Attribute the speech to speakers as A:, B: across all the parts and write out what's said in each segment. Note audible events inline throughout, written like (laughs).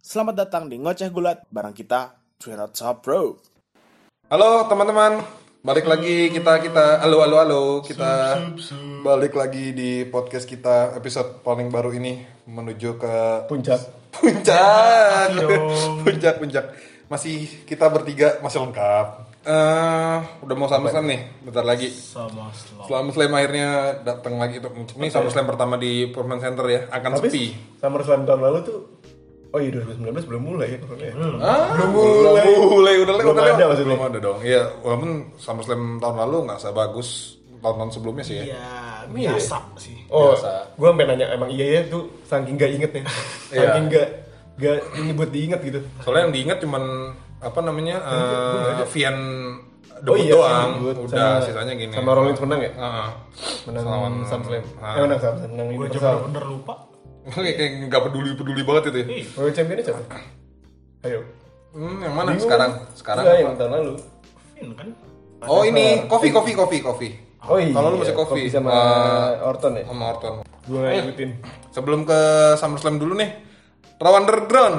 A: Selamat datang di Ngoceh Gulat, barang kita Trinot Top Pro.
B: Halo teman-teman, balik lagi kita kita halo halo halo kita balik lagi di podcast kita episode paling baru ini menuju ke
C: puncak Iya
B: puncak (laughs) puncak puncak masih kita bertiga masih lengkap eh udah mau SummerSlam nih bentar lagi
C: sama slow.
B: SummerSlam akhirnya datang lagi tuh ini SummerSlam pertama di Performance Center ya akan sepi
C: Tapi SummerSlam tahun lalu tuh Oh iya 2019 belum mulai ya corona ya.
B: Ah, belum
C: mulai.
B: mulai, udah lewat,
C: Belum
B: udah
C: ada
B: lewat.
C: maksudnya.
B: Belum ada dong. Iya, walaupun SummerSlam tahun lalu nggak sebagus tahun-tahun sebelumnya sih ya.
C: Iya.
D: Ya, biasa sih.
C: Oh,
B: Biasa.
C: gue sampe nanya emang iya ya tuh saking gak inget ya. saking
B: Iya.
C: gak gak ini buat diinget gitu.
B: Soalnya yang diingat cuman apa namanya
C: Iya,
B: eh Vian debut doang.
C: yang Oh iya, debut
B: udah
C: sama-
B: sisanya gini.
C: Sama Rollins menang ya?
B: Heeh. (laughs)
C: Menang
B: Iya. Lawan-
C: SummerSlam.
B: Ah.
C: Eh menang SummerSlam, menang
D: Gue aja
C: Universal.
D: bener-bener lupa.
B: Kayak kayak nggak peduli peduli banget itu. ya.
D: Iya.
C: World Championnya siapa? Ayo.
B: Hmm, yang mana
C: Bingung. Iya,
B: sekarang? Sekarang.
C: Enggak,
B: apa?
C: yang tahun lalu.
D: Finn kan?
B: Oh ini kopi kopi kofi kofi.
C: Oh iya.
B: Kalau lu masih kopi,
C: sama
B: eh,
C: Orton ya.
B: Sama Orton.
C: Gue gak ngikutin.
B: Sebelum ke SummerSlam dulu nih, Raw Underground.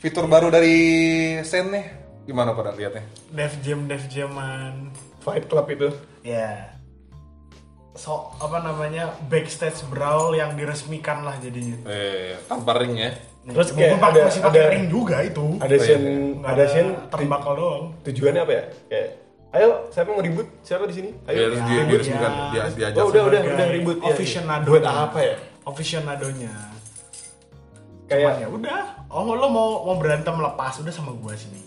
B: Fitur baru dari Sen nih. Gimana pada liatnya?
D: Def Jam, Def Jaman.
C: Fight Club itu.
D: Ya. So apa namanya backstage brawl yang diresmikan lah jadinya.
B: Eh, tanpa ring ya.
C: Terus
D: Meskipun
C: kayak
D: pakai
C: ada-
D: masih pakai
C: ada-
D: ring juga itu.
C: Ada
B: iya,
C: Shen,
D: Nggak
C: ada Shen
D: tembakau doang.
C: tujuannya apa ya? Kayak ayo siapa mau ribut? Siapa di sini?
B: Ya,
C: Ayo.
B: terus
D: ya,
B: dia
D: ya.
B: diresmikan, dia diajak.
C: Iya, Oh, udah udah
D: sebagai
C: udah ribut ya.
D: aficionado.
C: Buat apa ya?
D: Aficionadonya.
C: Kayak
D: Ya udah. Oh lo mau mau berantem lepas udah sama gua sini.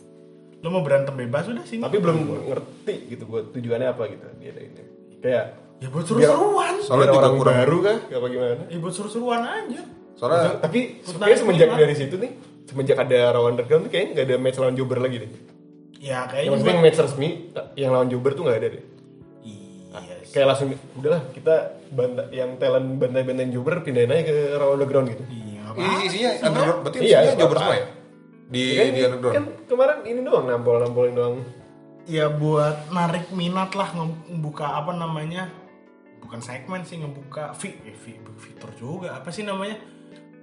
D: Lo mau berantem bebas udah sini.
C: tapi belum ngerti gitu buat tujuannya apa gitu dia ada ini. Kayak
D: ya buat seru-seruan.
B: Soalnya
C: biar
B: tiga
C: orang
B: kurang.
C: baru kah? Gak apa gimana?
D: Ya buat seru-seruan aja.
B: Soalnya
C: Tapi
D: Sebenarnya
C: kayaknya semenjak
D: gimana?
C: dari situ nih, semenjak ada Raw Underground tuh kayaknya gak ada match lawan Jobber lagi deh.
D: Ya
C: Yang
D: kayaknya
C: maksudnya yang match resmi yang lawan Jobber tuh gak ada deh.
D: Iya. sih.
C: Kayak langsung udahlah kita banta- yang talent bantai-bantai Jobber pindahin aja ke Raw Underground gitu.
D: Iya.
B: Isi isinya underground, berarti
C: Iya,
B: isinya
C: apa-apa.
B: jobber semua ya? Di,
C: Ya kan,
B: di underground?
C: kan kemarin ini doang nampol-nampolin doang.
D: ya buat narik minat lah ngebuka apa namanya bukan segmen sih ngebuka fi, eh, fi- fitur juga apa sih namanya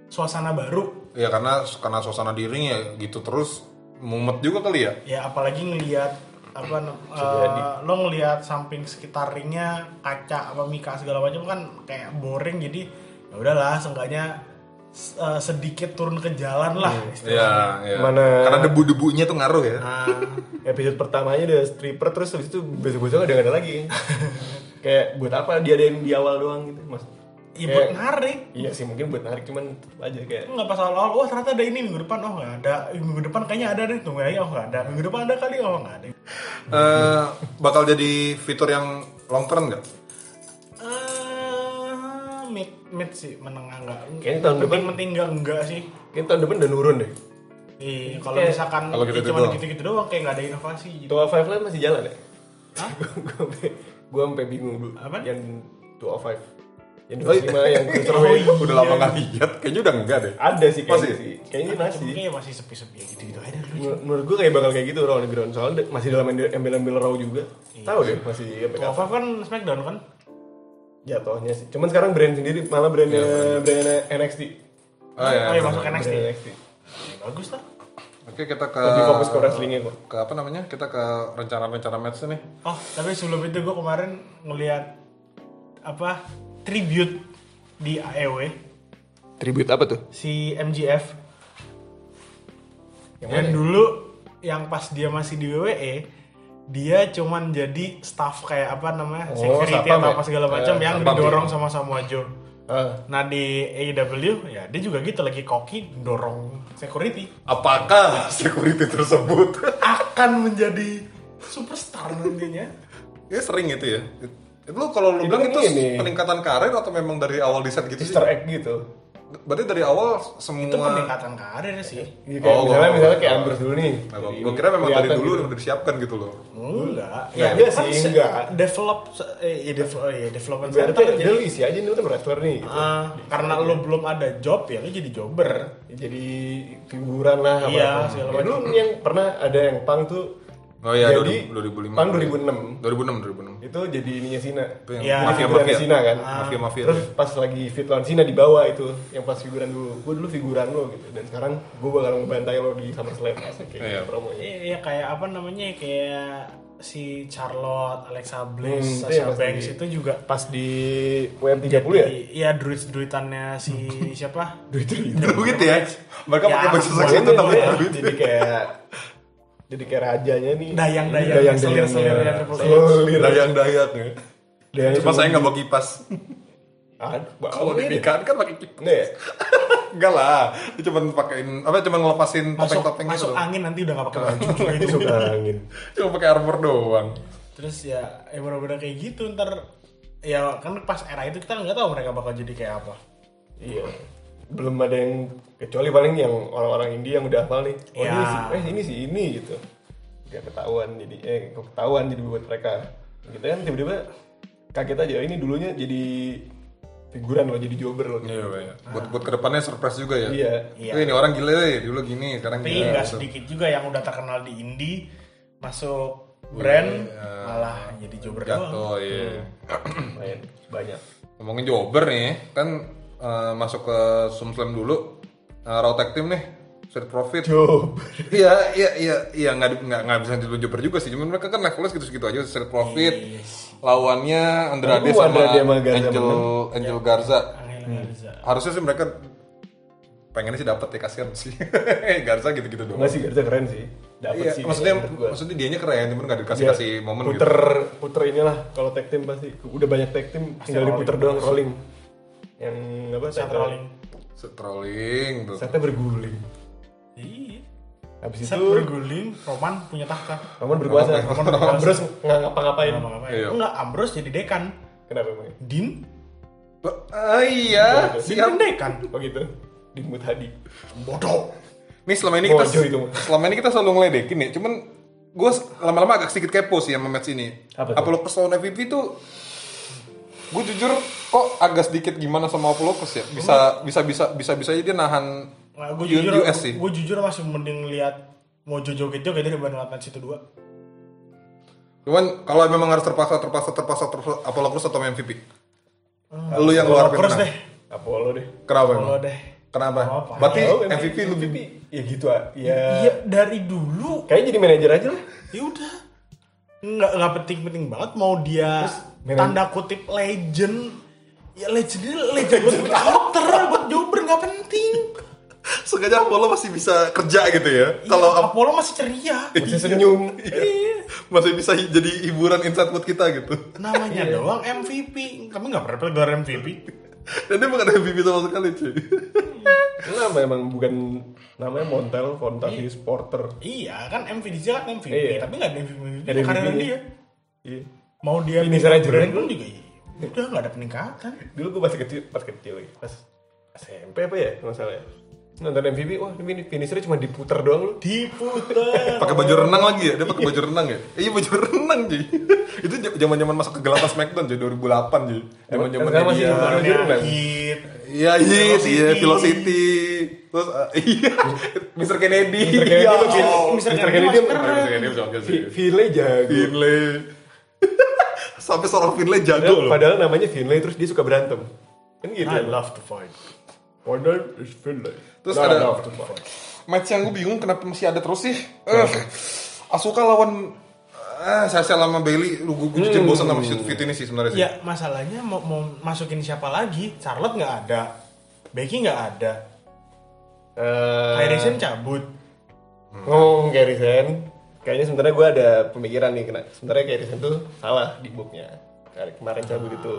D: suasana baru
B: Ya karena karena suasana di ring ya gitu terus mumet juga kali ya.
D: ya apalagi ngelihat apa nam-
C: jadi.
D: eh, lo ngelihat samping sekitar ringnya kaca apa mika segala macam kan kayak boring jadi ya udahlah seenggaknya s- eh, sedikit turun ke jalan lah istilahnya.
B: Iya, iya.
C: Mana-
B: Karena debu-debunya tuh ngaruh ya.
C: Ah.
D: Nah,
C: Episode pertamanya ada stripper terus habis itu besok-besok ada ada
D: (laughs)
C: lagi. kayak buat apa dia ada yang di awal doang gitu mas?
D: ya buat
C: Kayak-
D: narik
C: Iya sih mungkin buat narik cuman tetep aja kayak
D: nggak pas awal-awal wah ternyata ada ini minggu depan oh nggak ada Eh, minggu depan kayaknya ada deh tunggu aja oh nggak ada minggu depan ada kali oh nggak ada
B: Eh, bakal jadi fitur yang long term nggak?
D: Eh, mid mid sih menengah nggak
C: Kayaknya tahun
D: penting
C: depan-
D: penting nggak enggak sih
C: mungkin tahun depan udah nurun deh.
D: Iya, kalau
C: Kayak-
D: misalkan
B: Kalau
D: ya
B: gitu-gitu
D: cuma
B: doang.
D: gitu-gitu doang kayak nggak ada inovasi gitu.
C: Tua Five Live masih jalan ya? (laughs) Gue gue sampai bingung dulu.
D: Apaan?
C: Yang Tua Five, yang dua lima, yang Cruiserweight.
D: (laughs) Oh,
B: Udah lama nggak lihat, kayaknya udah enggak deh.
C: Ada sih kayaknya
B: Masih?
C: sih. Kayaknya
D: Cuma
C: iya, masih.
D: kayak masih sepi-sepi ya gitu-gitu aja dulu.
C: Menur- Menurut gue kayak bakal kayak gitu Raw Underground soalnya de- masih dalam embel- embel-embel Raw juga.
D: Iya.
C: Tahu deh masih sampai
D: Kalau
C: kapan.
D: Five kan Smackdown kan?
C: jatuhnya sih. Cuman sekarang brand sendiri malah brandnya
B: Iya,
C: brandnya NXT.
B: Oh, iya,
D: Oh iya
B: iya.
D: masuk NXT.
C: Brand NXT.
D: Ya, bagus lah.
B: Oke kita ke
C: Lebih fokus ke wrestlingnya kok.
B: ke apa namanya kita ke rencana-rencana match nih
D: Oh tapi sebelum itu gue kemarin ngelihat apa tribute di AEW
C: Tribute apa tuh?
D: si MGF
C: Yang ya?
D: Dan dulu yang pas dia masih di WWE, dia cuman jadi staff kayak apa namanya?
C: Oh,
D: security
C: satpam
D: atau
C: ya?
D: apa segala macam
C: Eh,
D: yang
B: satpam.
D: didorong sama Samoa Joe.
C: Ah.
D: Nah di AEW ya dia juga gitu lagi koki dorong security
B: apakah (laughs) security tersebut
D: akan menjadi superstar nantinya.
B: ya sering itu ya itu lu kalau lu
C: Itu
B: bilang
C: kan
B: itu
C: ini.
B: peningkatan karir atau memang dari awal di set gitu sih
C: Easter egg gitu.
B: berarti dari awal semua
D: Itu peningkatan karir sih.
C: Iya, kayak
B: Oh,
C: misalnya
B: oh,
C: misalnya
B: oh,
C: kayak
B: oh.
C: Ambrose dulu nih.
B: Nah, gua, gua kira memang dari
C: Kelihatan
B: dulu
C: gitu.
B: udah disiapkan gitu loh
D: Enggak.
C: Ya,
D: itu
C: iya
D: kan
C: sih,
D: se-
C: enggak.
D: Develop se- eh, ya, develop oh, iya, development
C: Berarti
D: center kan
C: dia
D: jadi
B: gitu.
C: lu isi aja nih lu kan wrestler nih. gitu.
D: Ah, karena lo belum ada job ya lo jadi jobber.
C: Jadi figuran lah
D: Iya,
C: apa-apa.
D: segala
C: Ya,
D: macam.
C: Dulu yang pernah ada yang pang tuh
B: Oh iya,
C: Jadi,
B: 2000 2005.
C: tahun 2006. (laughs)
B: 2006, 2006.
C: itu jadi ininya Sina
B: Itu yang
D: Iya.
B: mafia
C: Mafia
B: mafia.
C: Sina kan
B: Mafia mafia.
C: terus pas lagi fit lawan Sina di bawah itu yang pas figuran dulu gue dulu figuran lo gitu dan sekarang gue bakal ngebantai lo di SummerSlam asik
B: Iya.
C: kayak promonya
D: Iya iya, kayak apa namanya kayak si Charlotte, Alexa Bliss,
C: Hmm, itu
D: Sasha
C: yang pasti.
D: Banks itu juga
C: pas di WM 30 ya Hmm.
D: jadi- iya druid-druidannya si siapa?
C: duit
B: Begitu ya. Mereka
D: Ya,
B: pakai baju seks
D: boleh,
B: itu tapi
D: boleh.
B: duit.
C: jadi kayak jadi kayak rajanya nih
D: Dayang-dayang,
C: dayang
D: selir-selirnya
C: dayang
D: Triple H.
C: selir
B: Dayang dayat nih.
C: dayang
B: Cuma saya nggak bawa kipas.
C: aduh
B: Kalau di
C: ini
B: nikahan kan pakai kipas. (laughs)
C: nih
B: Enggak lah, dia cuma pakaiin apa cuma ngelepasin
D: Masuk
B: topeng-topeng
D: masuk
B: gitu.
D: angin nanti udah gak pakai baju juga
C: itu (laughs)
D: itu.
C: suka angin
B: Cuma pakai armor doang.
D: Terus ya ya bener-bener kayak gitu ntar ya kan pas era itu kita nggak tahu mereka bakal jadi kayak apa.
C: Iya. Belum ada yang kecuali paling yang orang-orang India yang udah hafal nih. Oh,
D: Iya.
C: ini sih, eh ini sih ini gitu. Gak ketahuan jadi eh kok ketahuan jadi buat mereka. Kita kan tiba-tiba kaget aja ini dulunya jadi figuran loh jadi jobber loh. gitu.
B: Iya, iya. Buat buat kedepannya surprise juga ya.
C: Iya.
D: Iya.
B: Eh, ini orang gila ya, dulu gini, sekarang
D: Tapi
B: gila.
D: nggak
B: gitu.
D: sedikit juga yang udah terkenal di indie masuk brand
B: Iya.
D: malah jadi jobber doang.
B: Jatuh, iya.
C: Main banyak.
B: Ngomongin jobber nih, kan eh, masuk ke SumSlam dulu. Eh, Raw Tag Team nih, Street Profit.
C: Jobber.
B: (laughs) Iya, iya, iya, iya nggak di- nggak nggak bisa dibilang jobber juga sih. Cuman mereka kan levelnya segitu-segitu aja. Street Profit lawannya Andrade
C: Oh,
B: sama
C: Andrade sama Garza
B: Angel Angel Garza.
D: Angel
B: Hmm.
D: Garza.
B: Harusnya sih mereka pengennya sih dapat ya kasihan sih. (laughs) Garza gitu-gitu doang.
C: Enggak sih Garza keren sih. Dapat
B: Iya,
C: sih.
B: maksudnya
C: menurut gua.
B: maksudnya dianya keren, cuman nggak dikasih
C: Iya,
B: kasih momen
C: puter,
B: gitu.
C: Puter inilah kalau tag team pasti udah banyak tag team tinggal
D: rolling.
C: diputer doang rolling. Yang apa?
D: Set
C: title.
D: rolling.
B: Strolling tuh.
C: Setnya berguling.
D: Iya.
C: Habis
D: Set
C: itu
D: berguling, Roman punya tahta.
C: Roman berkuasa.
B: Roman
D: berkuasa.
C: Ambrose nggak ngapa-ngapain.
D: Apa-apa.
B: Iya.
D: Enggak, Ambrose jadi dekan.
C: Kenapa emang?
D: Din,
B: Ba- Ah, iya,
D: Din
B: siap.
D: kan dekan.
C: Oh gitu. Di Muthadi.
B: Bodoh. Nih selama ini kita
C: Bodoh itu.
B: selama ini kita selalu ngeledekin ya, cuman gue lama-lama agak sedikit kepo sih sama match ini.
C: Apa tuh?
B: Apollo Crews lawan MVP tuh gue jujur kok agak sedikit gimana sama Apollo Crews ya. Bisa bisa bisa bisa bisa aja dia nahan
D: Nah, gue
B: Iya, U-
D: jujur,
B: US sih.
D: gue jujur masih mending lihat Mojo joget joget daripada ngeliat match itu dua.
B: Cuman kalau memang harus terpaksa terpaksa terpaksa terpaksa Apollo Crews atau MVP.
C: Ah,
B: Lu yang luar
D: Terus
B: pemenang.
D: deh,
C: Apollo deh.
B: Kenapa? emang?
D: kalau deh.
B: Kenapa?
D: Apa-apa.
B: Berarti
C: Oh,
B: MVP lebih
C: Ya gitu ah. Ya.
D: Iya dari dulu,
C: Kayaknya jadi manajer aja lah.
D: ya udah. Nggak nggak penting penting banget mau dia
C: memang-
D: tanda kutip legend. Ya legendnya legend buat counter buat jobber nggak penting.
B: sengaja Apollo masih bisa kerja gitu ya. Kalau
D: Iya,
B: Ap- Iya.
D: Apollo masih ceria,
C: Masih senyum.
B: masih bisa jadi hiburan insight buat kita gitu.
D: namanya doang MVP. Kami nggak pernah gelar MVP.
B: Dan dia bukan MVP sama sekali cuy.
C: Nama emang bukan namanya Montel Fantasi Sporter.
D: Iya kan MVP dia kan MVP,
C: Iya.
D: tapi nggak ada MVP
C: Nggak ada
D: karena
C: MVP.
D: dia.
C: Iya.
D: mau dia
C: Finisher aja
D: brand
C: dulu.
D: pun juga iya. udah nggak ada peningkatan
C: Dulu gue pas kecil, pas kecil lagi. Pas SMP apa ya kalau nggak salah ya. Nonton MVP, wah ini finishernya cuma diputer doang lu.
D: diputer
B: Pakai baju renang lagi ya, dia pakai baju renang ya. Eh, Iya baju (laughs) renang cuy. Itu j- zaman-zaman masuk ke gelapan Smackdown cuy 2008 cuj. Zaman-zamannya
C: Emang masih
B: dia.
C: zaman- Baju renang.
D: hit
B: Iya, Hit,
D: Velocity.
B: iya, Velocity. Terus eh, (laughs) iya, Mr. Kennedy.
C: Mr. Kennedy
B: Iya.
C: lebih-
B: Oh,
D: Mr.
C: Mr.
D: Kennedy
C: Kennedy
D: masih
C: lebih-
D: keren.
B: Mr. Kennedy jago sih.
C: Vi- Finlay jago.
B: Finlay. (laughs) Sampai seorang Finlay
C: Padahal,
B: jago loh.
C: padahal namanya Finlay terus dia suka berantem. Kan gitu.
D: I love to fight
C: My name is Finlay.
B: Terus
C: Nah,
B: ada-
C: love to fight.
B: match yang gue bingung kenapa masih ada terus sih. Eh, Asuka lawan eh Sasha sama Bailey, lu gue jujur bosan sama shoot fit ini sih sebenarnya sih.
D: ya masalahnya mau, mau masukin siapa lagi Charlotte nggak ada Becky nggak ada
C: Eh,
D: Kairisen cabut
C: ngomong Garrison, kayaknya sebenarnya gue ada pemikiran nih kena. Sebenarnya Garrison tuh salah di booknya Kar- kemarin cabut itu.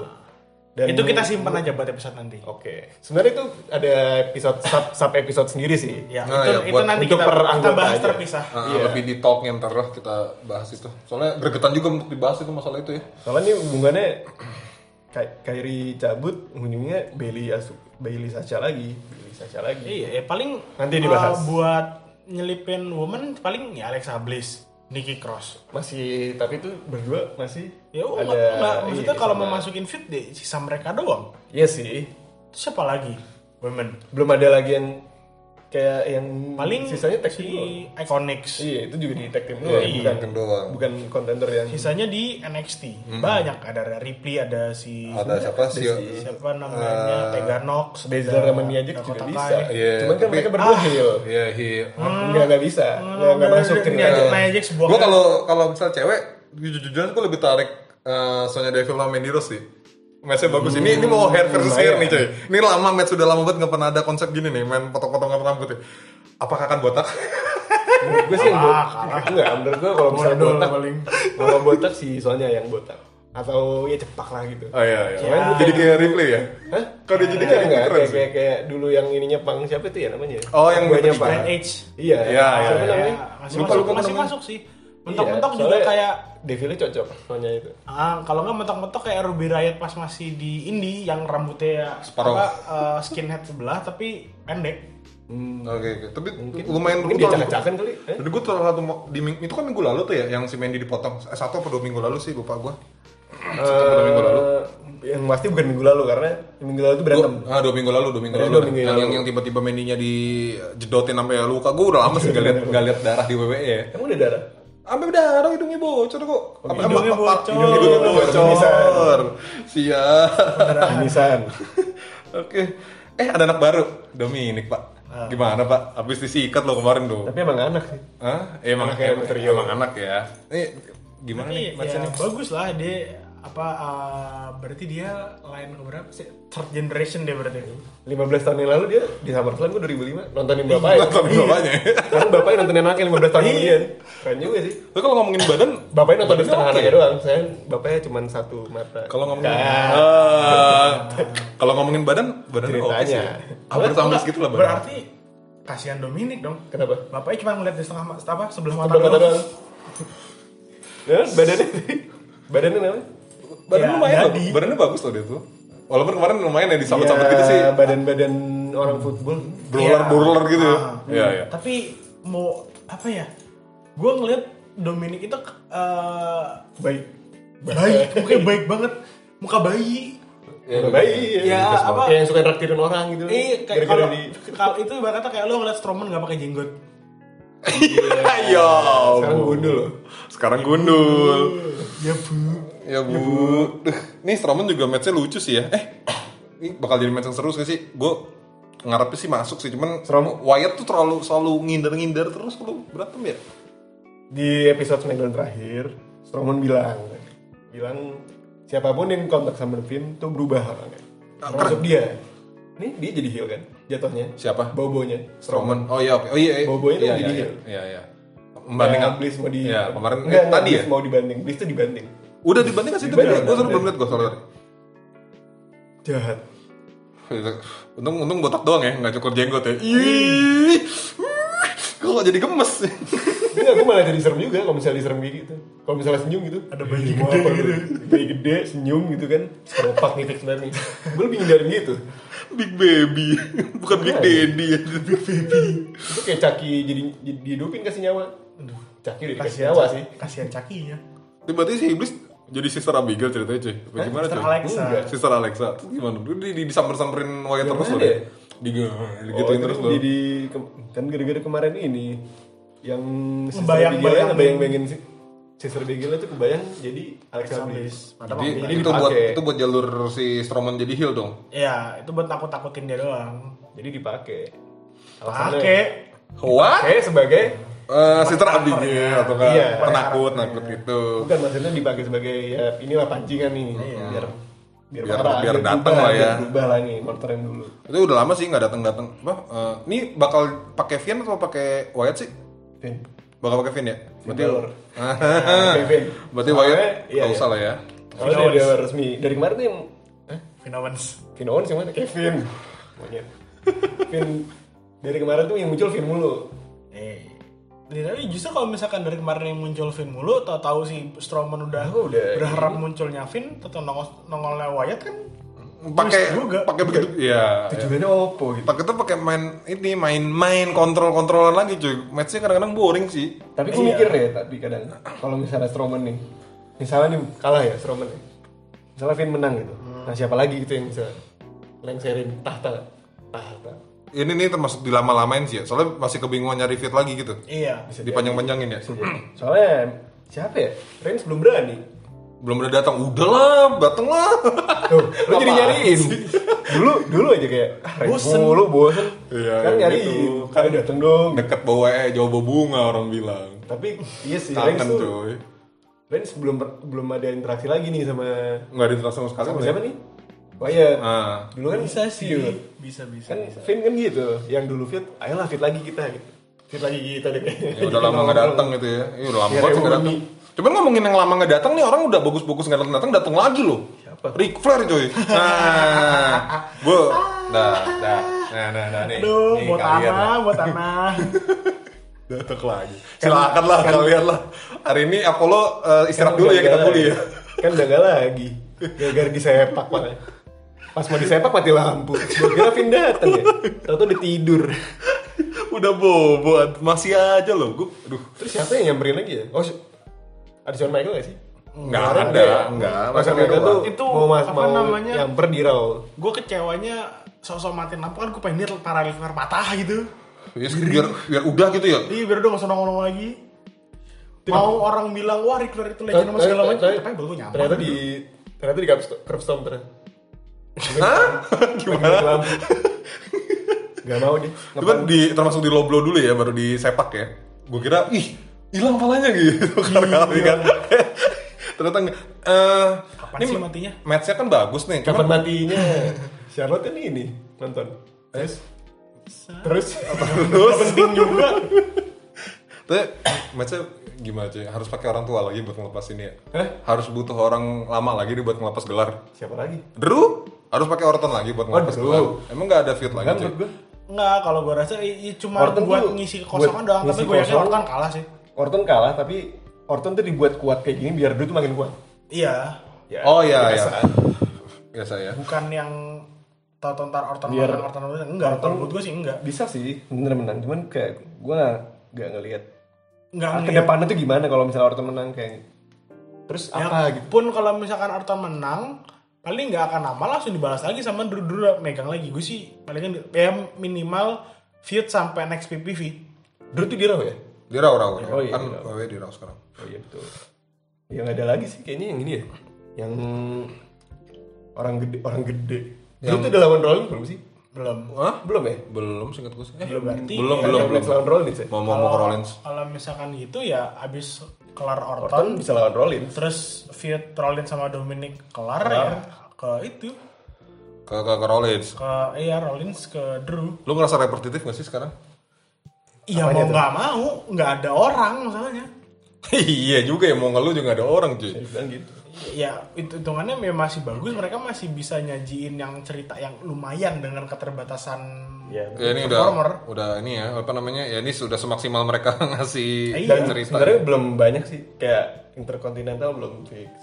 C: Dan
D: itu kita simpan aja buat episode nanti
C: Oke. Sebenarnya itu ada episode sub, sub episode sendiri sih.
D: ya
B: Nah,
D: itu,
B: ya,
D: itu
B: buat-
D: nanti
C: Oh, iya, untuk
D: kita,
C: per
D: kita
C: anggota
D: bahas
C: aja.
D: terpisah
B: Ah,
C: Iya.
B: Lebih di talknya ntar lah kita bahas itu. Soalnya gregetan juga untuk dibahas itu masalah itu ya.
C: Soalnya ini hubungannya Kai- Kairi cabut, hubungannya Bailey Asu, Bailey Sasha lagi, Bailey Sasha lagi.
D: iya ya, paling
C: Nanti dibahas.
D: uh, buat nyelipin woman paling ya Alexa Bliss Nikki Cross
C: Masih tapi itu berdua masih
D: ya
C: ada-
D: enggak, enggak. maksudnya
C: iya,
D: kalau
C: sama-
D: mau masukin fit deh sisa mereka doang
C: Iya sih.
D: siapa lagi women
C: Belum ada lagi yang kayak yang
D: paling
C: sisanya tag team doang.
D: si Iconics
C: Iya, itu juga di tag team
B: Iya,
C: doang,
B: bukan doang.
C: bukan contender yang
D: sisanya di NXT
C: Hmm.
D: banyak ada Ripley ada si
B: Ada siapa sih? ya?
D: siapa namanya Tegan Nox
C: Bezler
D: ada
C: Eh, sama Nia Jax juga
D: Dakota
C: bisa.
D: Kai.
B: Iya,
C: Cuman kan
B: tapi-
C: mereka berdua
D: Ah.
C: heel.
B: Iya, iya.
C: Enggak enggak bisa. Enggak enggak Eh, masuk ya. ke
D: Nia Jax- Nia Jax buang-
B: Gue kalau kalau misal cewek, jujur-jujuran gue lebih tarik eh, Sonya Deville sama Mandy Rose sih. Matchnya bagus ini, ini mau hair versus hair nih coy. Ini lama match sudah lama banget nggak pernah ada konsep gini nih, main potong-potongan rambut ya. Apakah akan botak?
C: Menurut gue sih yang botak. Enggak, menurut gue kalau misalnya
D: Modal
C: botak
D: paling.
C: kalau botak sih soalnya yang botak. Atau ya cepak lah gitu.
B: Oh iya, iya.
C: Cuman
B: Jadi kayak replay ya?
C: Hah?
B: Kalau dia jadi
C: Enggak,
B: kayak keren
C: enggak, Nah, kayak,
B: sih.
C: kayak, kayak dulu yang ininya Pang siapa itu ya namanya?
B: Oh, yang
C: Guanya
B: British
C: Pang.
D: Grand Age
C: Iya,
B: Iya, iya,
C: Siapa
B: iya.
C: namanya?
D: masih
B: Lupa,
D: masuk
B: lupa
D: masih
B: namanya.
D: masuk sih mentok-mentok
C: Iya,
D: juga
C: soalnya
D: kayak
C: Deville cocok soalnya itu.
D: Ah, kalau nggak mentok-mentok kayak Ruby Riot pas masih di indie yang rambutnya
B: Separuh.
D: apa eh, skinhead sebelah tapi pendek.
B: Hmm, Oke, oke. Tapi lumayan
C: Mungkin
B: gua tahu-
C: dia cak-cakan kali. eh?
B: Jadi gue salah satu mo- di ming- itu kan minggu lalu tuh ya yang si Mandy dipotong Eh, satu atau dua minggu lalu sih lupa gue.
C: Eh, yang pasti bukan minggu lalu karena minggu lalu itu berantem.
B: Dua, ah, dua minggu lalu, dua minggu
C: Iya,
B: lalu.
C: Eh, dua
B: dah.
C: minggu
B: yang,
C: lalu.
B: yang, yang tiba-tiba Mandy-nya dijedotin sampai luka. Gue udah lama sih gak liat, gak liat darah di WWE ya.
C: Emang udah darah?
B: Sampai darah hidungnya bocor kok. Apa- apa-
D: hidungnya
B: apa-
D: bocor.
B: Hidungnya bocor.
C: Pemisahan.
B: Siap.
C: Ah. Pemisahan.
B: Oke. Eh ada anak baru, Dominic pak.
C: Ah.
B: Gimana pak? Abis disikat lo kemarin tuh.
C: Tapi emang anak sih.
B: Hah? Eh, emang,
C: Anaknya
B: emang,
C: Trio.
B: emang anak ya. Ini gimana nih?
D: Iya. Tapi ya, bagus lah dia apa eh, berarti dia line ke berapa sih? Third generation dia berarti.
C: 15 tahun yang lalu dia di SummerSlam gue 2005 nontonin ya? Iya. bapaknya.
B: Nonton
D: Iya.
B: bapaknya.
C: Sekarang bapaknya nontonin anaknya 15 tahun kemudian. Keren juga sih.
B: Tapi kalau ngomongin badan,
C: Iya. Bapaknya nontonin
B: Badannya
C: setengah
B: oke.
D: ya,
C: anaknya doang. Saya bapaknya cuma satu mata.
B: kalau ngomongin
D: Nah.
B: Eh, kalau ngomongin badan, badan oke sih.
C: Ceritanya.
B: Hampir sama segitu lah badan.
D: Berarti kasihan Dominic dong.
C: Kenapa?
D: Bapaknya cuma ngeliat di setengah ma- apa sebelah mata
C: Sebelah mata
D: doang.
C: doang. Ya, badannya badannya namanya?
B: Badan
D: Ya,
B: lumayan loh.
D: jadi. Iya.
B: Badannya bagus loh dia tuh. Walaupun kemarin lumayan ya disambut-sambut
C: Ya,
B: gitu sih.
C: Badan-badan orang football.
B: Brawler-brawler gitu
D: Ah.
B: ya. Iya, iya.
D: Tapi mau apa ya? Gue ngeliat Dominic itu eh,
C: Baik.
D: baik, mukanya baik banget, muka bayi.
C: Udah baik.
D: Ya, apa?
C: Kayak yang suka traktirin orang gitu.
D: Iya, kayak
C: Gara-gara
D: kalau
C: di-
D: kalau itu ibaratnya kayak lo ngeliat Strowman gak pakai jenggot.
B: Ya.
C: Iya. Sekarang
B: Bu.
C: gundul loh.
B: Sekarang gundul.
D: Ya bu.
B: Ya bu. Duh, Nih Strowman juga matchnya lucu sih ya. Eh, ini bakal jadi match yang seru sih. Gue ngarepnya sih masuk sih, cuman
C: Strowman-
B: Wyatt tuh terlalu selalu ngindar-ngindar terus kalau berantem ya.
C: di episode SmackDown terakhir, Strowman bilang, bilang siapapun yang kontak sama Devin tuh berubah orangnya. Termasuk dia. Nih dia jadi heel kan? Jatuhnya.
B: Siapa?
C: Bobonya.
B: Strowman. Oh iya, oke. Oh iya, iya.
C: Bobonya tuh
B: iya,
C: jadi
B: iya,
C: heel.
B: iya, iya. Membanding
C: Kayak Ya, Bliss mau di
B: Iya, kemarin eh,
C: Enggak, Iya, enggak,
B: tadi ya.
C: Bliss mau dibanting. Bliss tuh dibanting.
B: Udah dibanding kan situ gue
C: Dibanding,
B: suruh
C: dibanding.
B: belum liat gue soalnya.
C: Jahat.
B: Untung untung botak doang ya, nggak cukur jenggot ya. Ih. Gue kok jadi gemes.
C: Enggak, gue Iya, malah jadi serem juga kalau misalnya diserem kayak gitu. Kalau misalnya senyum gitu, ada bayi gede gitu. Bayi gede, senyum gitu kan. Seropak nih fix banget nih. Gue lebih ngindarin gitu.
B: Big baby, (laughs) bukan Big
C: Iya,
B: Daddy. (laughs) Big baby.
C: Itu kayak Caki jadi, jadi dihidupin kasih nyawa. Caki udah dikasih
D: Kasihan
C: nyawa
D: Cak-
C: sih.
D: Kasihan cakinya.
B: Tapi berarti si iblis jadi sister Abigail ceritanya cuy.
C: Eh,
B: Apa Gimana
D: Sister
B: cuy?
D: Alexa.
B: Enggak, Sister Alexa. Itu gimana? Dia di, di disamper-samperin Wyatt
C: Yang
B: terus
C: mana
B: loh. dia.
C: ya?
B: Di
C: Oh,
B: gituin
C: terus
B: terus loh.
C: jadi ke- kan gara-gara kemarin ini yang Sister
D: Ngebayang-bayang.
C: Abigail-nya ngebayang-bayangin si Sister Abigail itu kebayang jadi Alexa Bliss.
D: Padahal
B: Jadi
D: waktu
C: jadi
B: itu buat
C: dipakai.
B: itu buat jalur si Strowman jadi heel dong.
D: Ya, itu buat takut-takutin dia doang.
C: Jadi dipakai. Alasannya-
D: Pakai.
B: What?
C: Pakai sebagai
B: Eh, sister Abigail atau kan
C: Iya.
B: penakut nakut gitu.
C: bukan maksudnya dipakai sebagai ya inilah pancingan nih biar biar
B: Iya. Biar-
C: marah,
B: biar datang
C: berubah,
B: lah ya.
C: biar berubah lah nih motorin dulu.
B: Itu udah lama sih nggak datang datang. Apa? eh, ini bakal pakai Vian atau pakai Wyatt sih?
C: Vin.
B: Bakal pakai Vian ya? Berarti (laughs)
C: Balor. Pakai Vin.
B: Berarti Wyatt
C: Soalnya- iya,
B: nggak
C: iya.
B: usah lah ya.
C: Soalnya
D: Vin
C: dia
D: Owens.
C: udah resmi dari kemarin tuh yang eh?
D: Finowens.
C: Vin Owens yang mana? Kevin.
B: (laughs)
C: Monyet. Vin dari kemarin tuh yang muncul Vin mulu.
D: Eh. Jadi, Tapi justru kalau misalkan dari kemarin yang muncul Finn mulu, tahu-tahu si Strowman udah
C: Oh, udah.
D: berharap munculnya Finn, atau nongol nongolnya Wyatt kan?
B: Pakai
D: Terus juga.
B: pakai begitu. Iya. iya.
C: Tujuannya opo gitu.
B: Pakai tuh pakai main ini main main kontrol kontrolan lagi cuy. Matchnya kadang-kadang boring sih.
C: Tapi gue mikir ya tapi kadang kalau misalnya Strowman nih, misalnya nih kalah ya Strowman nih. Hmm. Misalnya Finn menang gitu. Nah siapa lagi gitu yang bisa lengserin tahta? Tahta.
B: ini nih termasuk dilama-lamain sih ya. Soalnya masih kebingungan nyari fit lagi gitu.
D: Iya.
B: Dipanjang-panjangin ya.
C: Soalnya siapa ya? Iya. Reigns belum berani.
B: Belum udah datang. Udahlah, datanglah.
C: Tuh, (laughs) lo jadi
B: Apaan
C: nyariin.
B: sih?
C: dulu dulu aja kayak ah, Reigns
D: Bosen.
C: mulu bosen.
B: Iya,
C: kan
B: iya
C: nyariin.
B: gitu.
C: Kan dateng dong.
B: (laughs) Deket bawa eh jauh bawa bunga orang bilang.
C: Tapi iya sih Reigns
B: Kangen
C: tuh.
B: cuy.
C: Reigns belum per- belum ada interaksi lagi nih sama
B: Nggak diterasa sama sekali.
C: sama
B: Bang.
C: siapa ya? nih? Wyatt.
B: Ah.
C: Dulu kan
D: Bisa sih.
C: feud.
D: Bisa bisa.
C: Kan Finn kan gitu. Yang dulu fit, ayolah fit lagi kita gitu. Fit lagi kita deh.
B: Ya, udah lama nggak
C: (laughs)
B: datang gitu ya. Iya udah lama
C: Ya,
B: banget sih nggak datang.
C: reuni.
B: Cuman ngomongin yang lama nggak datang nih orang udah bagus-bagus nggak datang datang datang lagi loh.
C: Siapa?
B: Ric Flair coy. Nah, bu, dah, dah, nah, nah, nah, nih.
D: Aduh,
B: Nih,
D: buat
C: ya.
B: kalian
D: tanah,
B: lah.
D: buat
C: (laughs)
D: tanah.
B: Datang lagi. Silakan lah kalian lah. Hari ini Apollo eh, istirahat dulu ya kita pulih ya.
C: Kan udah nggak lagi. Gara-gara disepak makanya. Pas mau disepak mati lampu. Gue kira Vin dateng ya. Tahu-tahu dia tidur.
B: udah bobo, masih aja loh. Gue, aduh,
C: Terus siapa yang nyamperin lagi ya? Oh, si- ada Shawn Michael gak sih?
B: nggak
C: Nggak
B: ada,
C: ya?
B: nggak.
C: Oh, Shawn Michael tuh
D: Itu
C: mau mas
D: apa
C: mau
D: namanya?
C: nyamper di Raw.
D: gue kecewanya sosok matiin lampu kan gue pengen dia para liver patah gitu.
B: Ya, biar, biar udah gitu ya.
D: Iya biar udah gak usah nongol lagi. Mau orang bilang wah Ric Flair itu legend sama segala macam, tapi baru nyampe.
C: Eh, Ternyata di ternyata di Curve- Curve Storm ternyata.
B: Hah? (laughs)
C: Lagi
B: Gimana?
C: lampu. Gak mau deh.
B: Cuman kan di termasuk di loblo dulu ya baru disepak ya. Gue kira ih hilang palanya gitu (laughs) karena kali
C: Iya.
B: kan. (laughs) Ternyata enggak. Eh,
D: Kapan sih matinya?
B: Matchnya kan bagus nih.
C: Kapan
B: Cuman
C: matinya? Charlotte kan ini nonton.
B: Eh,
C: Terus terus
B: terus
C: penting juga.
B: Tapi (coughs) matchnya gimana cuy? Harus pakai orang tua lagi buat ngelepas ini ya.
C: Hah?
B: Harus butuh orang lama lagi nih buat ngelepas gelar.
C: Siapa lagi?
B: Drew harus pakai Orton lagi buat ngelepas
C: Drew.
B: gelar. Emang nggak ada fit lagi
C: Kan
B: cuy.
C: menurut gue
D: Enggak, kalau gue rasa i- i- cuma
C: Orton
D: buat
C: tuh-
D: ngisi kekosongan
C: buat
D: doang, tapi
C: ngisi
D: gue yakin
C: kosong.
D: Orton kalah sih.
C: Orton kalah tapi Orton tuh dibuat kuat kayak gini biar Drew tuh makin kuat.
D: Iya,
C: Ya,
B: Oh iya iya.
C: biasa.
B: Biasa ya.
D: bukan yang tahu ntar Orton
C: Biar-
D: menang, Orton menang. enggak, kalau menurut gue sih enggak.
C: Bisa sih bener-bener cuman kayak gue gak, gak ngelihat
D: Enggak
C: ah,
D: ngeliat.
C: kedepannya tuh gimana kalau misalnya Orton menang kayak gitu? terus
D: Ya,
C: apa gitu
D: Pun kalau misalkan Orton menang, paling nggak akan lama langsung dibalas lagi sama Drew Drew megang lagi. Gue sih palingan ya minimal feud sampai next PPV.
C: Drew tuh di Raw ya
B: Dia raw raw.
C: Oh, iya,
B: kan
C: di Raw.
B: WWE di raw sekarang.
C: oh iya betul yang ada lagi sih kayaknya yang ini ya yang orang gede orang gede Drew tuh udah lawan Rollins belum sih
D: Belum.
B: Hah?
C: belum ya
B: Belum singkat gue sih. Eh,
D: Belum, berarti
B: belum, belum,
D: ya,
C: Ada
B: belum.
C: match lawan Rollins ya
B: Mau mau mau ke Rollins.
D: Kalau misalkan gitu ya abis kelar
C: Orton
D: Orton,
C: bisa lawan Rollins
D: terus feud Rollins sama Dominic kelar ya ke itu
B: Ke ke, ke Rollins.
D: ke iya Rollins ke Drew.
B: Lu ngerasa repetitif gak sih sekarang? (laughs)
D: Iya mau nggak mau, nggak ada orang masalahnya.
B: iya juga ya, mau nggak lu juga ada orang
C: Dia
B: cuy.
C: bilang gitu
D: Ya itu hitungannya memang masih bagus, mereka masih bisa nyajiin yang cerita yang lumayan dengan keterbatasan.
C: ya
B: Ya ini udah,
D: Performer.
B: udah ini ya, apa namanya, ya ini sudah semaksimal mereka (laughs) ngasih
C: dan
D: Eh, iya.
B: cerita. gitu.
C: sebenarnya belum banyak sih kayak Intercontinental belum fix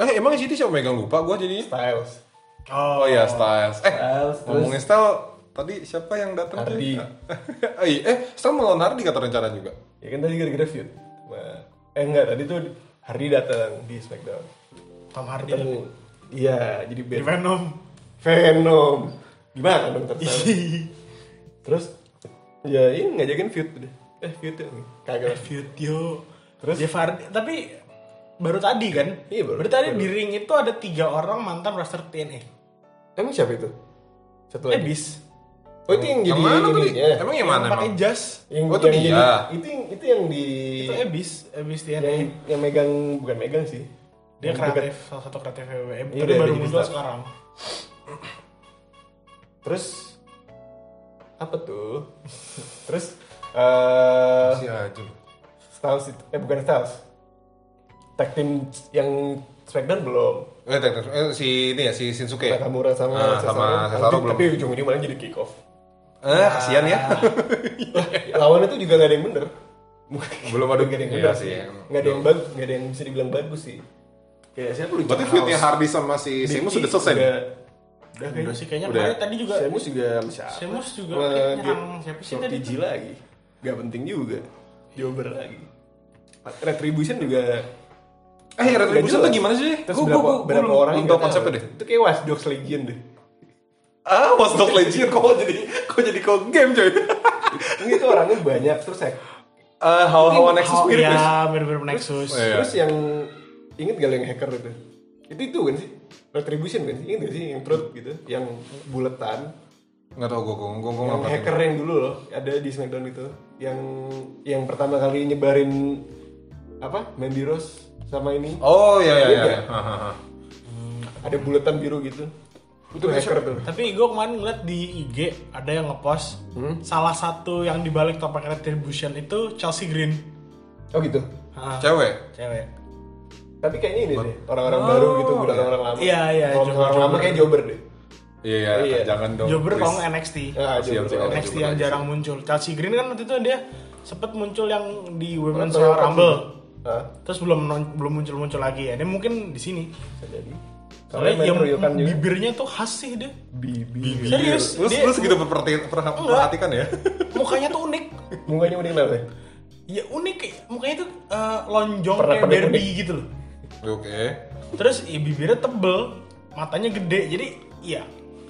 B: Eh emang GT siapa megang lupa gua jadinya?
C: Styles
B: Oh iya, Styles. Eh,
C: Styles,
B: ngomongin Styles, tadi siapa yang datang
C: Hardy.
B: Eh, (laughs) iya, eh, Styles melawan Hardy kata rencana juga.
C: Ya kan tadi gara-gara feud. Sama- Eh enggak, tadi tuh Hardy datang di SmackDown.
D: Tom Hardy
C: Ketemu. Iya, jadi
D: di
C: band.
D: Venom.
C: Venom. Gimana dong terus? terus ya ini ngajakin feud udah. Eh feud ya. Kagak.
D: Video.
C: Terus?
D: Jeff Hardy, tapi baru tadi kan?
C: Iya, baru-
D: Berarti tadi
C: baru.
D: di ring itu ada tiga orang mantan roster TNA.
C: Emang siapa itu? Satu
D: Eh
C: lagi.
D: bis.
C: Oh itu yang jadi ya.
B: yang mana tadi?
C: ininya.
B: Emang yang mana
D: Pakai
B: emang?
D: jas.
C: Yang,
B: Oh, itu
C: yang
B: dia.
C: jadi- itu yang itu yang di
D: Itu Ebis, Ebis
C: Iya. yang,
D: TNA.
C: yang megang bukan megang sih.
D: Dia
C: Yang
D: kreatif,
C: deket.
D: salah satu kreatif WWM.
C: Iya,
D: Tapi
C: dia-
D: baru
C: dia jadi
D: muncul
C: star.
D: sekarang.
C: Terus apa tuh? (laughs) terus eh
B: Si aja lu.
C: Styles itu, eh bukan Styles. Tag team yang SmackDown belum.
B: Eh, tak- tak- eh, si ini ya, si Shinsuke. ya?
C: Nakamura sama
B: Ah,
C: Cesaro.
B: sama
C: Nanti-
B: Cesaro belum.
C: Tapi ujung-ujungnya malah jadi kick off.
B: Eh, kasihan
C: (laughs)
B: ya.
C: Eh, Lawannya tuh juga gak ada yang bener. (laughs)
B: Belum ada
C: Gak ada yang
B: Iya
C: bener
B: sih,
C: sih.
B: ya.
C: Gak ada yang bagus, gak ada yang bisa dibilang bagus sih. Kayak siapa lu?
B: Berarti
C: Jack
B: feudnya
C: House.
B: Hardy sama si
C: Big
B: Sheamus
C: E
B: sudah selesai nih?
C: Udah, udah
D: Udah
C: kayaknya.
D: sih kayaknya
B: Udah.
D: kemarin tadi juga
C: Sheamus juga sama siapa?
D: Sheamus juga
C: Sama
D: kayak
C: dia-
D: nyerang siapa sih
C: sama
D: tadi
C: TG
D: tuh?
C: lagi. Gak penting juga. Jober lagi. Retribution juga
B: Eh, Retribution tuh gimana sih?
C: Terus
B: Gua- gua-
C: berapa,
B: gua- gua
C: berapa
B: belum-
C: orang gitu
B: belum
C: ya? yang
B: tahu
C: nggak tahu.
B: konsepnya deh.
C: Itu kayak Watch Dogs Legion deh.
B: Ah, Watchdog Legion kok jadi kok jadi kok game coy.
C: Ini tuh orangnya banyak terus hack. iya.
B: Ah, hawa-hawa Nexus
D: Oh,
B: mirip ya.
D: ya, mirip-mirip Nexus.
B: Iya.
C: Terus yang inget gak lo yang hacker itu? Itu itu kan sih? Retribution kan sih? Ingat gak sih yang truth gitu? Yang buletan.
B: Nggak tau gue, gue gue gue
C: Yang hacker yang dulu loh ada di Smackdown itu. Yang yang pertama kali nyebarin apa? Mandy Rose sama ini.
B: Oh iya iya iya.
C: Iya.
B: Hahaha.
C: Ada buletan biru gitu. Itu hacker tuh.
D: Tapi gue kemarin ngeliat di IG ada yang ngepost
C: Hmm?
D: salah satu yang dibalik topik retribution itu Chelsea Green.
C: Oh gitu.
D: Ah,
B: Cewek.
D: cewek.
C: Tapi kayaknya ini deh orang-orang baru gitu, bukan orang lama.
D: Iya, iya,
C: Kalau
D: jobber,
C: orang lama
D: jobber.
C: kayak jobber deh.
B: Iya
C: Iya.
B: iya. Jangan dong.
D: Jobber
B: please.
D: kalau nggak NXT.
C: Ah,
B: Siap,
C: jobber.
B: siap.
C: orang.
D: NXT
B: Jobber
D: yang
B: aja
D: jarang muncul. Chelsea Green kan waktu itu dia sempet muncul yang di
C: Atau Ah,
D: Women's
C: yang
D: Royal Rumble.
C: Hah?
D: Terus belum non- belum muncul-muncul lagi ya. Ini mungkin di sini.
C: Bisa jadi. Soalnya
D: Soalnya
C: main
D: yang
C: Ryokan juga.
D: bibirnya tuh khas sih dia.
C: Bibi.
D: Serius,
B: Lu
D: dia-
B: lu segitu memperhati- perha- perhatikan ya. (laughs)
D: Mukanya tuh unik.
C: Mukanya udah kenal ya?
D: Ya unik kayak mukanya tuh eh, lonjong kayak
C: Pernak-pernik
D: Barbie
C: unik.
D: gitu loh.
B: Oke.
D: Terus ya, bibirnya tebel, matanya gede. Jadi ya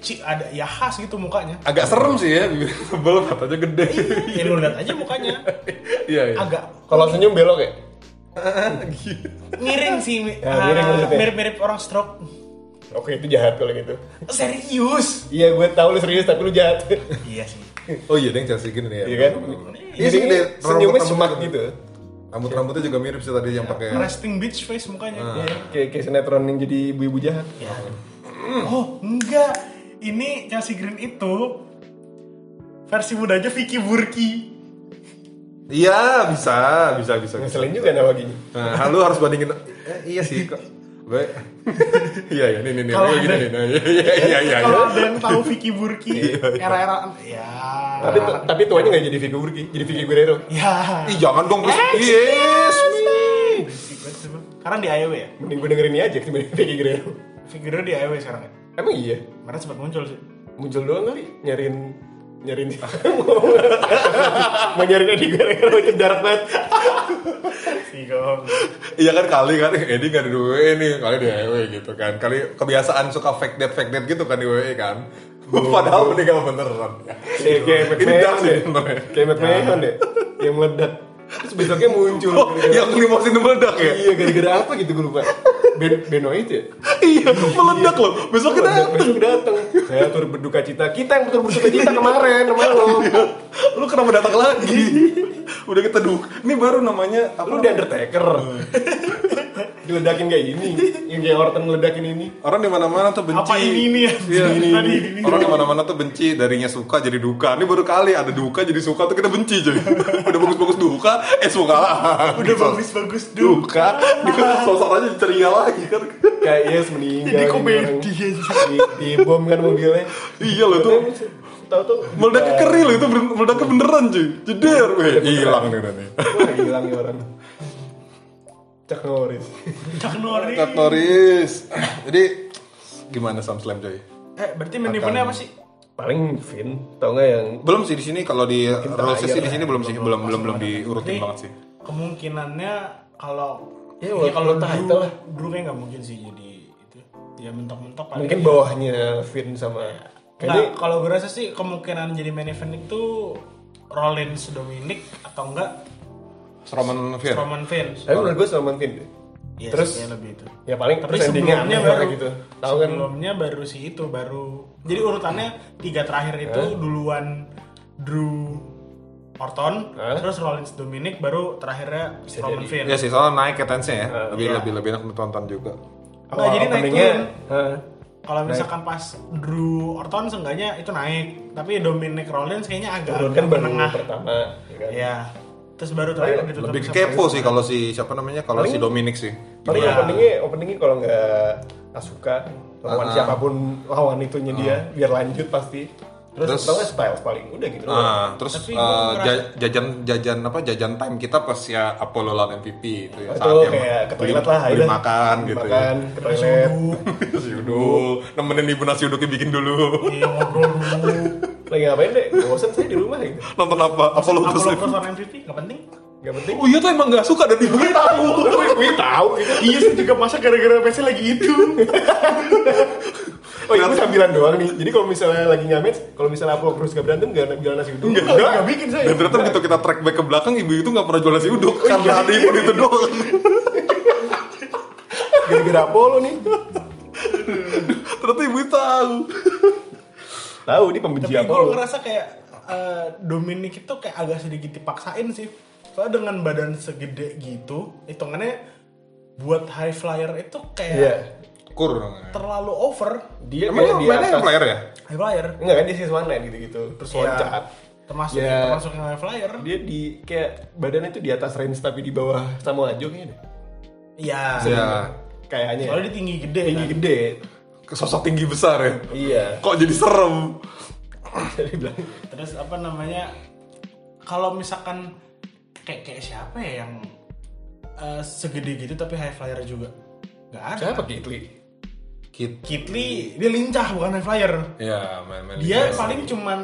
D: ci ada ya khas gitu mukanya.
B: Agak serem sih ya, (laughs) bibir tebel, matanya gede.
D: Ya lu lihat aja mukanya.
B: (laughs) Iya iya.
D: Agak
C: Kalau senyum belok ya?
D: miring sih mi-
C: Ya, miring
D: ah,
C: maksudnya.
D: mirip-mirip orang stroke.
C: Oke itu jahat kalau gitu.
D: Serius.
C: Iya gue tahu lu serius tapi lu jahat.
D: Iya sih.
B: Oh iya, deng Chelsea gini nih ya.
C: Iya kan?
B: Iya
C: Jadi
B: sih,
C: ini
B: dia
C: senyumnya
B: rambut-rambutnya
C: semak
B: juga-
C: gitu.
B: Rambut-rambutnya juga mirip sih tadi yang
C: Hmm.
B: pakai.
D: Resting bitch face mukanya.
C: Iya, Kayak kayak sinetron yang jadi ibu-ibu jahat.
D: Ya. Oh, enggak. Ini Chelsea Green itu versi mudanya Vicky Burki.
B: Iya, bisa, bisa, bisa. bisa.
C: Ngeselin juga nama gini.
B: Nah, lu harus bandingin. Eh, iya sih kok. Gue (laughs) Iya, iya, nih, nih, nih.
D: Kalau
B: Gue gini,
D: ada-
B: nih. Nah, Iya, iya, iya, iya.
D: Kalau ada yang tahu Vicky
C: (laughs)
D: Burki
C: Iya,
D: era-era ya.
C: Tapi tapi tuanya nggak jadi Vicky Burki, jadi Vicky Guerrero.
D: Ya.
B: Ih, jangan dong. Chris. Yes.
D: Berisik banget sih, Bang. Sekarang di AEW ya?
C: Mending gue dengerin ini aja dibanding (laughs) Vicky Guerrero.
D: Figurnya di AEW sekarang ya?
C: Emang iya?
D: Kemarin sempat muncul sih.
C: Muncul doang kali nyariin nyariin (laughs) mau nyariin Eddie Guerrero itu jarak banget
D: Si (laughs) Gong.
B: Iya kan kali kan Edi gak ada di WWE nih, kali di WWE gitu kan. Kali kebiasaan suka fake date fake date gitu kan di WWE kan. (laughs) Padahal meninggal beneran.
C: kayak kayak
B: Ini dark sih
C: McMahon deh
B: sebenarnya.
C: kayak McMahon deh yang meledak terus besoknya muncul
B: Oh, yang limosin meledak ya?
C: Iya gara-gara apa gitu gue lupa. Ben Benoit ya.
B: Iya, meledak loh. Besok kita
C: Besok datang. Saya turut berduka cita. Kita yang turut berduka cita kemarin sama lo.
B: lu kenapa datang lagi? Udah kita duk. Ini baru namanya apa?
C: Lu udah Undertaker. (laughs) Diledakin kayak ini. Yang kayak Orton ngeledakin ini.
B: Orang di mana-mana tuh benci.
D: Apa ini ini ya?
B: Iya,
D: Ini,
B: ini,
D: ini,
B: ini.
D: ini.
B: Orang di mana-mana tuh benci, darinya suka jadi duka. Ini baru kali ada duka jadi suka tuh kita benci
D: (laughs)
B: jadi. Udah bagus-bagus duka, eh suka lah. Gitu.
D: Udah bagus-bagus dulu.
B: duka, Gitu, sosok aja ceria lagi kan.
C: Kayak yes meninggal.
D: Ini komedi aja.
C: Di, di bom kan mobilnya.
B: Iya loh tuh.
C: Tahu tuh.
B: Meledak ke keri loh itu bener- meledak ke beneran cuy. Jeder weh. Hilang nih nanti.
C: Wah, Hilang ya orang. Cak Norris.
D: Chuck Norris.
B: Kak Noris. Jadi gimana SummerSlam coy?
D: Eh, berarti main eventnya apa sih?
C: Paling Finn. Tau nggak yang
B: Belum sih di sini kalau di rules
C: terakhir
B: sih di sini belum sih belum belum belum diurutin banget sih.
D: Kemungkinannya kalau
C: Ya, walaupun title
D: Drew,
C: lah.
D: Drew kayak nggak mungkin sih jadi itu. Ya mentok-mentok paling.
C: mungkin bawahnya Finn sama.
D: Nggak,
C: Kayaknya
D: kalau gue rasa sih kemungkinan jadi main event itu Rollins Dominic atau enggak
B: Roman Fear.
D: Roman Reigns.
C: Tapi menurut gue sama Finn deh.
D: Iya,
C: Terus?
D: sih, kayaknya lebih itu.
C: Ya paling
D: Tapi
C: terus endingnya
D: sebelumnya
C: aneh
D: baru
C: orang gitu. Tahu kan?
D: Sebelumnya baru sih itu baru. Jadi urutannya tiga terakhir itu duluan Drew Orton,
C: Hah?
D: terus Rollins Dominic, baru terakhirnya Roman Reigns.
B: Iya sih, soalnya naik ketensinya ya. lebih
D: iya.
B: lebih lebih enak ditonton juga.
D: Nah, jadi naik
C: openingnya,
D: turun.
C: heeh.
D: Kalau misalkan pas Drew Orton seenggaknya itu naik, tapi Dominic Rollins kayaknya agak
C: turun kan baru
D: menengah.
C: pertama. ya kan?
D: Iya. Terus baru terakhir gitu.
B: Lebih
D: Dominic
B: kepo sih kalau si siapa namanya kalau si Dominic sih.
C: Paling
D: Iya.
C: openingnya openingnya kalau nggak Asuka lawan
B: Ah.
C: siapapun lawan itunya dia biar lanjut pasti.
B: Terus-
C: Terus, tau nggak Styles paling udah gitu. doang.
B: Ah, terus
D: Tapi
B: eh,
D: gua ngerasa-
B: ja- jajan jajan apa jajan time kita pas ya Apollo lawan MVP itu ya
C: Itu
B: saat yang
C: kayak ke
B: beli-
C: toilet lah,
B: beli
C: akhirnya.
B: makan gitu ya.
C: Makan ke toilet.
B: (laughs) Nasi uduk, nemenin ibu nasi uduknya bikin dulu. (laughs)
D: Iya ngobrol dulu.
C: Lagi ngapain deh? Bosan saya di rumah gitu.
B: Nonton apa? Apollo
D: Aku
B: terus.
D: lo terus orang MVP nggak penting.
C: Gak penting.
B: Oh iya tuh emang gak suka dan ibu tahu.
C: Gue tahu gitu.
D: Iya sih juga masa gara-gara PC lagi itu.
C: (laughs) Oh ini sambilan doang nih. Jadi kalau misalnya lagi nggak match, kalau misalnya aku terus gak berantem gak jualan nasi uduk. Enggak,
D: nggak bikin saya.
B: Dan ternyata begitu kita track back ke belakang, ibu itu nggak pernah jual nasi uduk karena ada ibu itu doang. (laughs)
C: Gara-gara Apollo nih.
B: ternyata ibu itu tahu.
C: Tahu dia pembenci
D: tapi gue
C: Apollo.
D: ngerasa kayak eh, Dominic itu kayak agak sedikit dipaksain sih soalnya dengan badan segede gitu hitungannya buat high flyer itu kayak
C: Iya.
B: Kur.
D: terlalu over
C: Dia
B: Emang
C: kayak
B: lu
C: di
B: mainnya
C: atas.
B: yang player ya?
D: high flyer
C: Enggak kan dia siswa online gitu-gitu. Terus
D: Iya.
C: loncat.
D: termasuk
C: Iya.
D: termasuk yang high flyer
C: Dia di kayak badannya tuh di atas range tapi di bawah sama aja kayaknya. deh.
D: iya
B: Iya.
C: Kayaknya.
D: soalnya dia tinggi gede
C: tinggi
D: kan.
C: gede.
B: Sosok tinggi besar ya.
C: Iya. (laughs)
B: Kok jadi serem?
C: Jadi bilang
D: kan. terus apa namanya kalau misalkan kayak kayak siapa ya yang eh, segede gitu tapi high flyer juga nggak ada
C: siapa Kitli?
B: Kit.
D: Kitli dia lincah bukan high flyer
B: Ya, main-main.
D: dia
B: liga.
D: Iya, paling cuman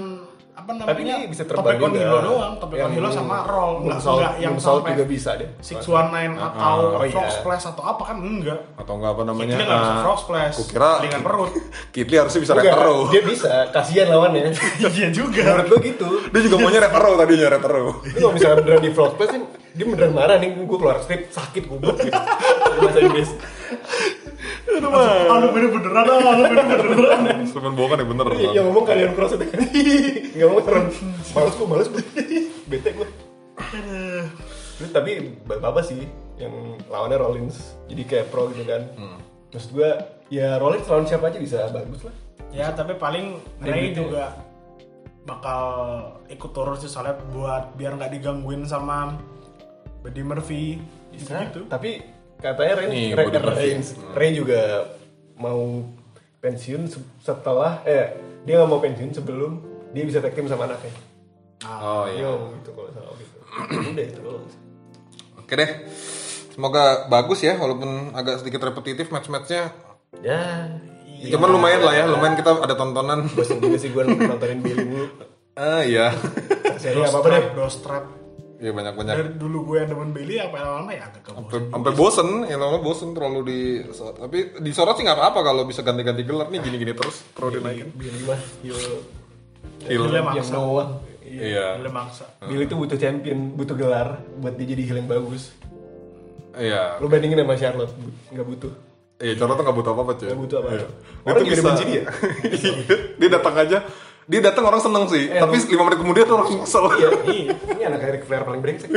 D: apa namanya
C: Tapi ini bisa terbang
D: topek on
C: juga.
D: hilo doang topek on
C: Yang
D: hilo sama roll nggak
C: moonsault-
D: nggak yang
C: moonsault
D: sampai
C: juga bisa deh.
D: six one nine atau
C: oh iya.
D: frog splash atau apa kan enggak
B: atau enggak apa namanya?
C: Ya,
D: Kitli nggak bisa
C: ah.
B: eh,
D: frog splash
B: Kukira
D: dengan
C: (laughs)
D: perut
B: (laughs) Kitli harusnya bisa
C: Enggak,
B: retro.
C: dia bisa, kasihan lawannya.
D: iya juga
C: (laughs) Menurut gue gitu.
B: Dia juga maunya retro tadinya retro.
C: Lu kalau misalnya beneran di vlog plus kan dia beneran marah nih gue keluar strip sakit goblok gitu. Di Bahasa Inggris.
D: aduh bener beneran
C: ah.
D: aduh bener beneran
B: Semen bohongan ya bener.
C: Tapi yang Iya, ngomong kalian cross (laughs) itu kan. Enggak ngomong serem. Males gue, males gue. (laughs) Bete gue. Terus tapi bapak sih yang lawannya Rollins. Jadi kayak pro gitu kan.
B: Hmm.
C: Maksud gue ya Rollins lawan siapa aja bisa bagus lah.
D: ya tapi paling Ray
C: gitu ya.
D: juga bakal ikut turun sih soalnya buat biar nggak digangguin sama Buddy Murphy gitu
C: Tapi katanya Ray,
B: Nih,
C: Ray,
B: body Hmm.
C: Ray-
B: perfect.
C: Ray juga mau pensiun se- setelah eh dia nggak mau pensiun sebelum dia bisa tag team sama anaknya.
B: Oh
C: Dia
B: iya.
C: ngomong gitu kalau salah gitu. (clears throat) Udah itu doang.
B: Oke deh. Semoga bagus ya walaupun agak sedikit repetitif match-matchnya.
C: Ya.
B: Cuman lumayan lah ya, lumayan kita ada tontonan. (laughs)
C: Bosan juga sih gue nontonin Billy mulu.
B: Ah iya. (laughs)
C: Seri
D: Dos
C: apa apa deh.
D: trap, dos trap.
B: ya banyak-banyak.
D: dari dulu gue yang demen Bailey apa lama ya agak kebosan
B: Sampai bosen, ya lama bosen terlalu di tapi disorot sih nggak apa-apa kalau bisa ganti-ganti gelar nih gini-gini terus perlu dinaikin.
C: Billy mah yo
B: Heel.
C: yang
D: Dia maksa.
C: doang.
B: Iya.
D: Dia maksa.
C: Billy tuh butuh champion, butuh gelar buat dia jadi heel yang bagus.
B: Iya.
C: Lu bandingin sama Charlotte, bu- nggak butuh.
B: Iya, Coro tuh nggak butuh apa-apa, cuy.
C: Nggak butuh apa-apa.
B: Iya. Dia
C: Orang
B: tuh
C: juga
B: bisa.
C: benci dia.
B: Iya. (laughs) dia datang aja. Dia datang orang seneng sih, tapi lima menit kemudian tuh orang kesel.
C: Eh, Iya, ini, ini anak Eric Flair paling brengsek.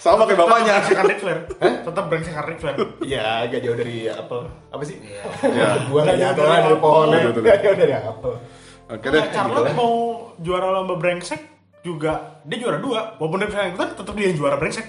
B: Sama kayak bapaknya.
D: Brengsekan Ric Flair. Tetap brengsekan Ric Flair.
C: Iya, agak jauh dari apel. Apa sih?
B: Iya.
C: Gua lagi ada
D: Nggak jauh dari
C: dari
D: apel.
C: pohonnya.
B: Nggak jauh dari
C: Nggak jauh dari apel.
B: Oke deh.
D: Nah, Charlotte mau juara lomba brengsek juga dia juara dua walaupun dia bisa ikutan tetap dia yang juara brengsek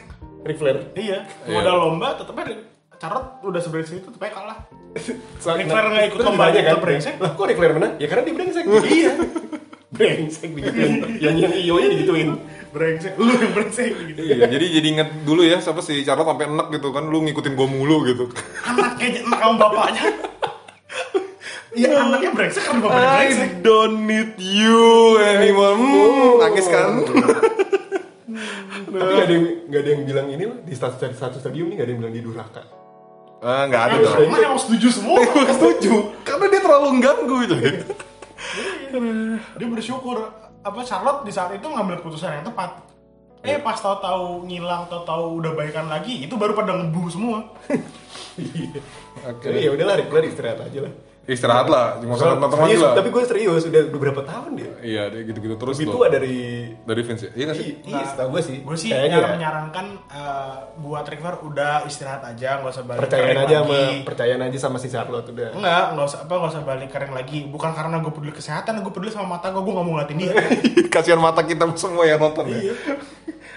C: Ric Flair.
D: iya
B: Iya.
D: mau ada lomba tetapnya Charlotte udah sebrengsek itu tetapnya kalah Ric
C: Soalnya-
D: Flair nggak ikut
C: Terus
D: lomba
C: ditanya
D: aja kan brengsek
C: nah, Lah, kok Ric Flair menang? Ya karena dia brengsek. (laughs) Iya. (laughs) brengsek digituin. yang yang iyo-nya digituin.
D: brengsek lu yang brengsek gitu
B: Iya, jadi jadi inget dulu ya siapa sih Charlotte sampai enak gitu kan lu ngikutin gue mulu gitu.
D: anaknya enak sama bapaknya Iya anaknya brengsek kan bapaknya brengsek
B: don't need you anymore. Hmm, nangis kan?
C: Oh. Tapi nggak ada yang nggak ada yang bilang ini loh, di status status stadium ini nggak ada yang bilang dia durhaka.
B: Ah, nggak ada
D: Yang
B: dong.
D: mana yang mau setuju semua
B: Gue setuju, karena dia terlalu ganggu itu.
D: dia bersyukur apa Charlotte di saat itu ngambil keputusan yang tepat
C: Iya.
D: eh pas tahu-tahu ngilang tahu-tahu udah baikan lagi itu baru pada ngebu semua
B: Oke.
C: Jadi ya udahlah Ric Flair istirahat aja lah.
B: Istirahat lah, cuma usah nonton lagi
C: Serius,
B: lah.
C: Tapi gue serius, udah beberapa tahun dia.
B: Iya, dia gitu-gitu terus
C: Itu
B: loh.
C: ada dari
B: Dari Vince ya? Iya nggak sih?
C: Iya, setahu gue sih.
D: gue sih
C: Kayaknya
D: yang
C: ya.
D: menyarankan eh, buat River udah istirahat aja nggak usah balik
C: percayaan
D: kering
C: aja
D: lagi.
C: sama percayaan aja sama si Charlotte udah.
D: Enggak, nggak usah apa nggak usah balik kering lagi bukan karena gue peduli kesehatan gue peduli sama mata gue gue nggak mau ngeliatin dia
B: (laughs) kasihan mata kita semua yang nonton ya.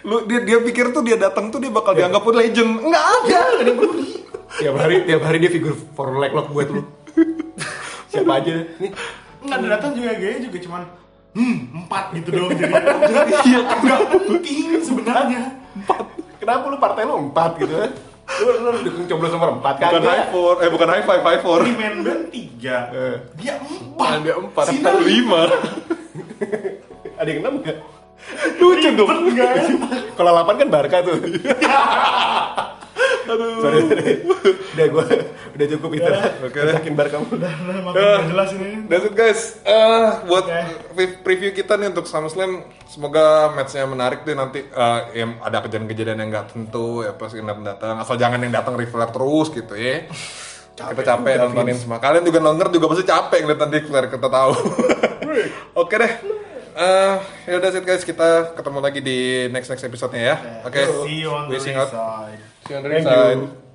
B: Lu dia dia pikir tuh dia datang tuh dia bakal dianggap pun legend. Enggak ada.
C: tiap hari tiap hari dia figur for like lock buat
B: (laughs)
C: lu. Siapa aja nih?
D: nggak ada datang juga gaya juga cuman hmm empat gitu doang jadi iya nggak penting sebenarnya
C: Kenapa lu partai lu empat gitu? kan? Lu lu dukung coblos nomor empat kan?
B: Bukan high four, eh bukan high five, high four.
D: di main band tiga
C: Eh.
D: dia empat
B: Ada empat,
D: Sini.
B: ada lima.
C: Ada yang enam nggak?
B: Lucu dong.
D: Enggak.
C: (laughs) Kalau delapan kan Barca tuh. Sorry, sorry. Udah gue udah cukup itu. Oke.
B: Oke.
C: Sakin bar kamu udah.
D: Udah makin nggak jelas ini.
B: That's it guys. Eh, buat
D: Oke.
B: pre- preview kita nih untuk SummerSlam, semoga matchnya menarik deh nanti. Eh, ya, ada kejadian-kejadian yang nggak tentu ya pas yang datang. Asal jangan yang datang Riddler terus gitu ya. kita capek nontonin semua. Kalian juga nonton juga pasti capek ngeliat nanti Riddler kita
D: (laughs)
B: tahu. Oke deh. Eh, ya udah sih guys kita ketemu lagi di next next episode-nya ya. Oke.
D: See you on the
B: Wishing out.
D: inside.
B: See you on the
C: Thank
B: inside.
C: you.